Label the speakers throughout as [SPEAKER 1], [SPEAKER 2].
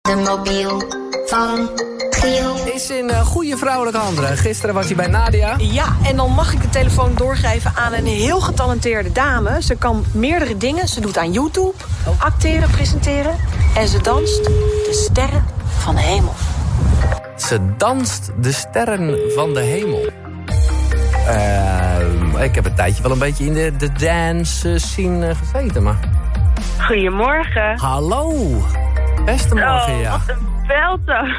[SPEAKER 1] de mobiel van Giel.
[SPEAKER 2] Is in eh, goede vrouwelijke handen. Gisteren was hij bij Nadia.
[SPEAKER 3] Ja, en dan mag ik de telefoon doorgeven aan een heel getalenteerde dame. Ze kan meerdere dingen. Ze doet aan YouTube, acteren, presenteren. En ze danst de sterren van de hemel.
[SPEAKER 2] Ze danst de sterren van de hemel. Ehm, ik heb een tijdje wel een beetje in de, de dance scene eh, gezeten, maar...
[SPEAKER 4] Goedemorgen.
[SPEAKER 2] Hallo! Beste morgen,
[SPEAKER 4] oh,
[SPEAKER 2] ja.
[SPEAKER 4] wat een beltoon.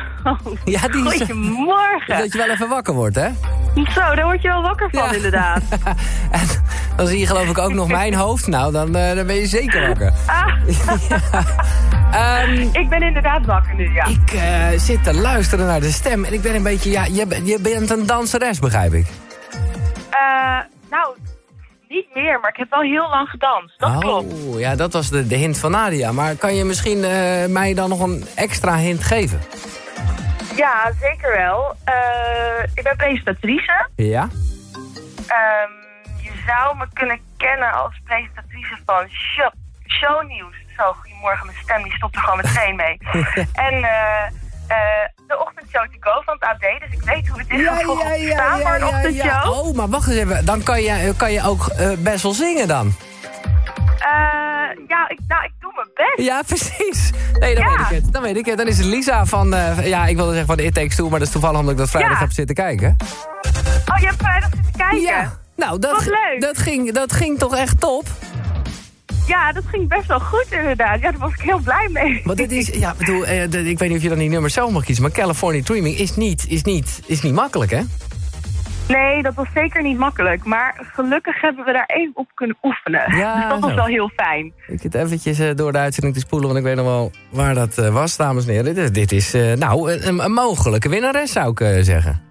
[SPEAKER 2] Ja, die is-
[SPEAKER 4] Goedemorgen.
[SPEAKER 2] Dat je wel even wakker wordt, hè?
[SPEAKER 4] Zo, daar word je wel wakker van,
[SPEAKER 2] Ja.
[SPEAKER 4] inderdaad.
[SPEAKER 2] En dan zie je geloof ik ook nog mijn hoofd. Nou, dan, eh, dan ben je zeker wakker.
[SPEAKER 4] Ah,
[SPEAKER 2] Ehm,
[SPEAKER 4] ik ben inderdaad wakker nu, ja.
[SPEAKER 2] ik eh, zit te luisteren naar de stem en ik ben een beetje... Ja, je, ben- je bent een danseres, begrijp ik.
[SPEAKER 4] Eh, nou, niet meer, maar ik heb wel heel lang gedanst. Dat klopt.
[SPEAKER 2] Oh, ja, dat was de, de hint van Nadia. Maar kan je misschien eh, mij dan nog een extra hint geven?
[SPEAKER 4] Ja, zeker wel. Eh, ik ben presentatrice.
[SPEAKER 2] Ja?
[SPEAKER 4] Ehm, je zou me kunnen kennen als presentatrice van show, shownieuws. Zo, goedemorgen, mijn stem die stopt er gewoon meteen mee. en eh, eh, de ochtendshow to go van het AD, dus ik weet hoe het is om vroeg op te staan voor een ochtendshow.
[SPEAKER 2] Oh, maar wacht eens even. Dan kan je, kan je ook eh, best wel zingen dan.
[SPEAKER 4] Eh, ja, ik, nou, ik doe mijn best.
[SPEAKER 2] Ja, precies. Nee, dan
[SPEAKER 4] Ja.
[SPEAKER 2] weet ik het. Dan weet ik het. Dan is het Lisa van, eh, ja, ik wilde zeggen van It Takes Two, maar dat is toevallig omdat ik dat vrijdag
[SPEAKER 4] Ja.
[SPEAKER 2] heb zitten kijken.
[SPEAKER 4] Oh, je hebt vrijdag zitten kijken?
[SPEAKER 2] Ja. Nou, dat,
[SPEAKER 4] Wat leuk.
[SPEAKER 2] dat, ging, dat ging toch echt top.
[SPEAKER 4] Ja, dat ging best wel goed inderdaad. Ja, daar was ik heel blij mee.
[SPEAKER 2] Want dit is, ja, ik bedoel, eh, d- ik weet niet of je dan die nummer zelf mag kiezen, maar California Dreaming is niet, is niet, is niet makkelijk, hè?
[SPEAKER 4] Nee, dat was zeker niet makkelijk. Maar gelukkig hebben we daar even op kunnen oefenen.
[SPEAKER 2] Ja,
[SPEAKER 4] dus dat was
[SPEAKER 2] zo.
[SPEAKER 4] wel heel fijn.
[SPEAKER 2] Ik zit eventjes eh, door de uitzending te spoelen, want ik weet nog wel waar dat eh, was, dames en heren. Dit is, dit is eh, nou, een, een mogelijke winnares, zou ik eh, zeggen.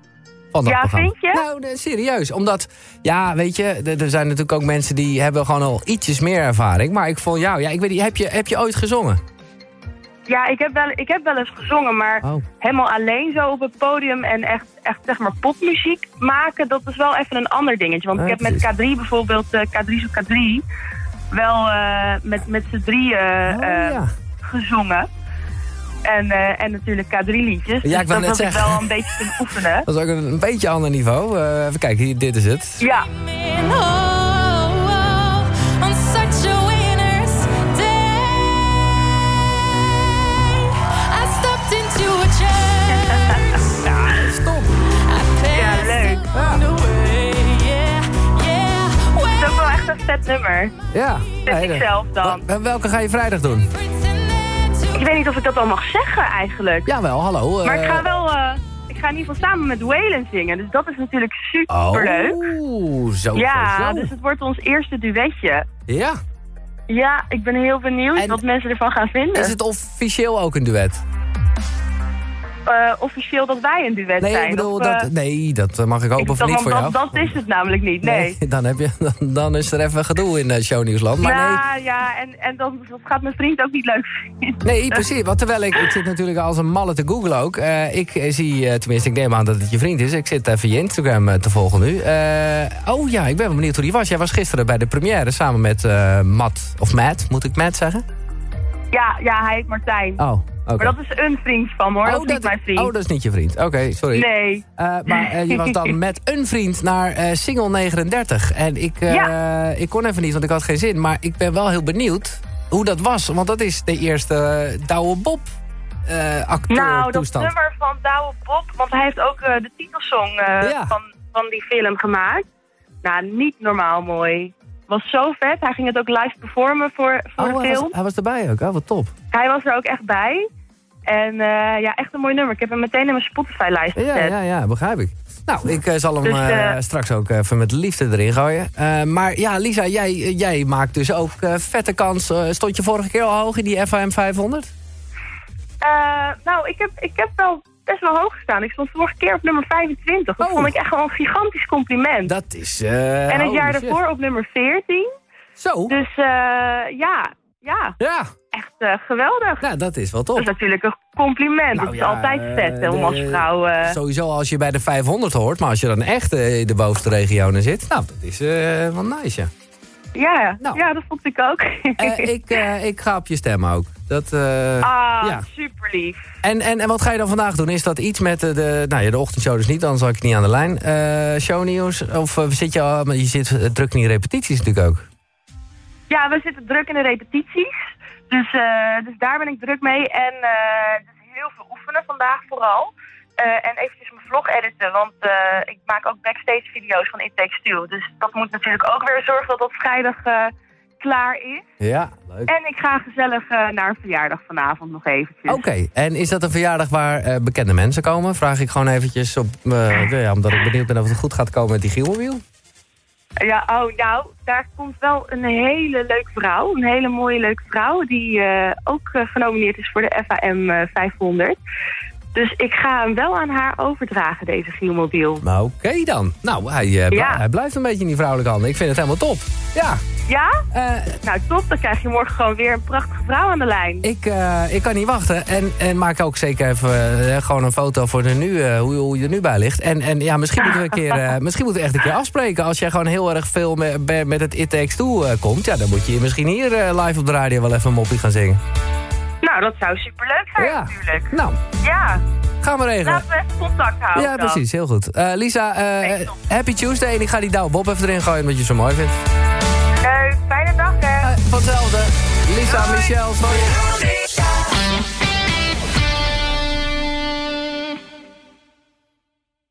[SPEAKER 2] Van dat
[SPEAKER 4] Ja,
[SPEAKER 2] programma.
[SPEAKER 4] vind je?
[SPEAKER 2] Nou, nee, serieus. Omdat, ja, weet je, d- er zijn natuurlijk ook mensen die hebben gewoon al ietsjes meer ervaring. Maar ik vond jou, ja, ik weet niet, heb je, heb je ooit gezongen?
[SPEAKER 4] Ja, ik heb wel, ik heb wel eens gezongen, maar
[SPEAKER 2] Oh.
[SPEAKER 4] helemaal alleen zo op het podium en echt, echt zeg maar popmuziek maken, dat is wel even een ander dingetje. Want
[SPEAKER 2] Ja,
[SPEAKER 4] ik heb met
[SPEAKER 2] precies.
[SPEAKER 4] K3 bijvoorbeeld, eh, K3 zo K3, wel eh, met, met z'n drieën
[SPEAKER 2] Oh,
[SPEAKER 4] eh,
[SPEAKER 2] ja.
[SPEAKER 4] gezongen. En, eh, en natuurlijk K3-liedjes.
[SPEAKER 2] Ja, ik wou
[SPEAKER 4] dus
[SPEAKER 2] net
[SPEAKER 4] dat heb ik
[SPEAKER 2] zeggen.
[SPEAKER 4] wel een beetje kunnen oefenen.
[SPEAKER 2] Dat is ook een, een beetje ander niveau. Eh, even kijken, hier, dit is het.
[SPEAKER 4] Ja,
[SPEAKER 5] Oh, On such a winter's day, I stopped into a church.
[SPEAKER 2] Stop!
[SPEAKER 5] I
[SPEAKER 4] ja, leuk.
[SPEAKER 5] passed along the way, yeah, yeah.
[SPEAKER 4] Het is
[SPEAKER 5] When
[SPEAKER 4] ook wel echt een vet nummer.
[SPEAKER 2] Ja.
[SPEAKER 4] Vind ik
[SPEAKER 2] dat-
[SPEAKER 4] zelf dan.
[SPEAKER 2] Wel- Welke ga je vrijdag doen?
[SPEAKER 5] pretended to
[SPEAKER 4] Ik weet niet of ik dat al mag zeggen eigenlijk.
[SPEAKER 2] Jawel, hallo. eh,
[SPEAKER 4] Maar ik ga wel... eh, ik ga in ieder geval samen met Waylon zingen. Dus dat is natuurlijk superleuk.
[SPEAKER 2] Oh, Oeh, zo, zo,
[SPEAKER 4] Ja,
[SPEAKER 2] zo.
[SPEAKER 4] dus het wordt ons eerste duetje.
[SPEAKER 2] Ja.
[SPEAKER 4] Ja, ik ben heel benieuwd
[SPEAKER 2] En-
[SPEAKER 4] wat mensen ervan gaan vinden.
[SPEAKER 2] Is het officieel ook een duet?
[SPEAKER 4] Eh, officieel dat wij een duet
[SPEAKER 2] Nee,
[SPEAKER 4] zijn?
[SPEAKER 2] ik bedoel,
[SPEAKER 4] of, eh,
[SPEAKER 2] dat, nee, dat eh, mag ik hopen van
[SPEAKER 4] ik- dat,
[SPEAKER 2] niet voor jou.
[SPEAKER 4] want dat, dat is het namelijk niet, nee.
[SPEAKER 2] dan, heb je, dan, dan is er even gedoe in eh, shownieuwsland. Maar nee,
[SPEAKER 4] ja, ja, en, en dat, dat gaat mijn vriend ook niet leuk vinden.
[SPEAKER 2] Nee, precies. Want terwijl ik, ik zit natuurlijk als een malle te googlen ook. Eh, ik eh, zie, eh, tenminste, ik neem aan dat het je vriend is. Ik zit even je Instagram eh, te volgen nu. Eh, oh ja, ik ben wel benieuwd hoe die was. Jij was gisteren bij de première samen met eh Matt. Of Matt, moet ik Matt zeggen?
[SPEAKER 4] Ja, ja, hij heet Martijn.
[SPEAKER 2] Oh, oké.
[SPEAKER 4] Maar dat is een vriend van me, hoor.
[SPEAKER 2] oh,
[SPEAKER 4] dat is niet mijn vriend.
[SPEAKER 2] oh, dat is niet je vriend. Oké, sorry.
[SPEAKER 4] Nee.
[SPEAKER 2] Eh, maar eh, je was dan met een vriend naar eh Single 39. En ik, eh, ik kon even niet, want ik had geen zin. Maar ik ben wel heel benieuwd hoe dat was. Want dat is de eerste eh, Douwe Bob eh acteur
[SPEAKER 4] Nou, dat
[SPEAKER 2] toestand.
[SPEAKER 4] nummer van Douwe Bob, want hij heeft ook eh, de titelsong eh,
[SPEAKER 2] Ja.
[SPEAKER 4] van, van die film gemaakt. Nou, niet normaal mooi. Was zo vet. Hij ging het ook live performen voor, voor
[SPEAKER 2] Oh,
[SPEAKER 4] de
[SPEAKER 2] hij, was,
[SPEAKER 4] film.
[SPEAKER 2] hij was erbij ook. Oh, wat top.
[SPEAKER 4] Hij was er ook echt bij. En eh, ja, echt een mooi nummer. Ik heb hem meteen in mijn Spotify-lijst gezet.
[SPEAKER 2] Ja, ja, ja, begrijp ik. Nou, ik eh, zal hem
[SPEAKER 4] Dus,
[SPEAKER 2] eh,
[SPEAKER 4] eh,
[SPEAKER 2] straks ook even met liefde erin gooien. Eh, maar ja, Lisa, jij, jij maakt dus ook eh, vette kans. Eh, stond je vorige keer al hoog in die FAM 500?
[SPEAKER 4] Eh, nou, ik heb, ik heb wel best wel hoog gestaan. Ik stond vorige keer op nummer 25. Dat
[SPEAKER 2] Oh.
[SPEAKER 4] vond ik echt wel een gigantisch compliment.
[SPEAKER 2] Dat is... eh,
[SPEAKER 4] en het
[SPEAKER 2] holy
[SPEAKER 4] jaar
[SPEAKER 2] shit.
[SPEAKER 4] daarvoor op nummer 14.
[SPEAKER 2] Zo?
[SPEAKER 4] Dus eh, ja, ja,
[SPEAKER 2] Ja,
[SPEAKER 4] echt eh, geweldig.
[SPEAKER 2] nou, dat is wel
[SPEAKER 4] Dus Dat
[SPEAKER 2] top.
[SPEAKER 4] is natuurlijk een compliment.
[SPEAKER 2] Nou
[SPEAKER 4] dat is
[SPEAKER 2] ja,
[SPEAKER 4] altijd vet hè, om
[SPEAKER 2] eh,
[SPEAKER 4] als vrouw... eh,
[SPEAKER 2] Sowieso als je bij de 500 hoort, maar als je dan echt eh, in de bovenste regionen zit... Nou, dat is eh, wel nice, ja.
[SPEAKER 4] Ja,
[SPEAKER 2] Nou.
[SPEAKER 4] ja dat vond ik ook.
[SPEAKER 2] Eh, ik, eh, ik ga op je stemmen ook. Dat, eh,
[SPEAKER 4] ah,
[SPEAKER 2] ja.
[SPEAKER 4] super lief.
[SPEAKER 2] en, en, en wat ga je dan vandaag doen? Is dat iets met eh, de, nou ja, de ochtendshow dus niet, anders had ik het niet aan de lijn. Eh shownieuws? Of eh, zit je, al- maar je zit eh, druk in die repetities natuurlijk ook.
[SPEAKER 4] Ja, we zitten druk in de repetities. Dus, eh, dus daar ben ik druk mee. En eh, dus heel veel oefenen vandaag vooral. Eh, en eventjes mijn vlog editen, want eh, ik maak ook backstage video's van It Takes Two. Dus dat moet natuurlijk ook weer zorgen dat dat vrijdag eh, klaar is.
[SPEAKER 2] Ja, leuk.
[SPEAKER 4] En ik ga gezellig eh, naar een verjaardag vanavond nog eventjes.
[SPEAKER 2] Eh, Oké, en is dat een verjaardag waar eh, bekende mensen komen? Vraag ik gewoon eventjes, op, eh, nou ja, omdat ik benieuwd ben of het goed gaat komen met die gielmobiel.
[SPEAKER 4] Ja, oh, nou, daar komt wel een hele leuke vrouw. Een hele mooie leuke vrouw die eh, ook eh, genomineerd is voor de FAM eh, 500. Dus ik ga hem wel aan haar overdragen, deze Gielmobiel.
[SPEAKER 2] Maar oké dan. Nou, hij, eh, bl-
[SPEAKER 4] Ja.
[SPEAKER 2] hij blijft een beetje in die vrouwelijke handen. Ik vind het helemaal top. Ja,
[SPEAKER 4] Ja?
[SPEAKER 2] eh,
[SPEAKER 4] Nou, top. Dan krijg je morgen gewoon weer een prachtige vrouw aan de lijn.
[SPEAKER 2] ik, eh, ik kan niet wachten. En, en maak ook zeker even eh, gewoon een foto voor de nu, eh, hoe, hoe je er nu bij ligt. En, en ja, misschien moeten, we een keer, eh, misschien moeten we echt een keer afspreken. Als jij gewoon heel erg veel me- be- met het It Takes Two eh, komt... ja, dan moet je misschien hier eh, live op de radio wel even een moppie gaan zingen.
[SPEAKER 4] Nou, dat zou superleuk zijn natuurlijk.
[SPEAKER 2] Nou,
[SPEAKER 4] Ja,
[SPEAKER 2] gaan we regelen.
[SPEAKER 4] laten we even contact houden
[SPEAKER 2] Ja,
[SPEAKER 4] Nou, dan.
[SPEAKER 2] precies. Heel goed. Eh, Lisa, eh,
[SPEAKER 4] Echt top.
[SPEAKER 2] happy Tuesday. En ik ga die Douwe Bob even erin gooien, omdat je het zo mooi vindt.
[SPEAKER 4] Leuk. Fijne dag, hè.
[SPEAKER 2] Eh, van hetzelfde. Lisa, Michelle, sorry.
[SPEAKER 5] Shout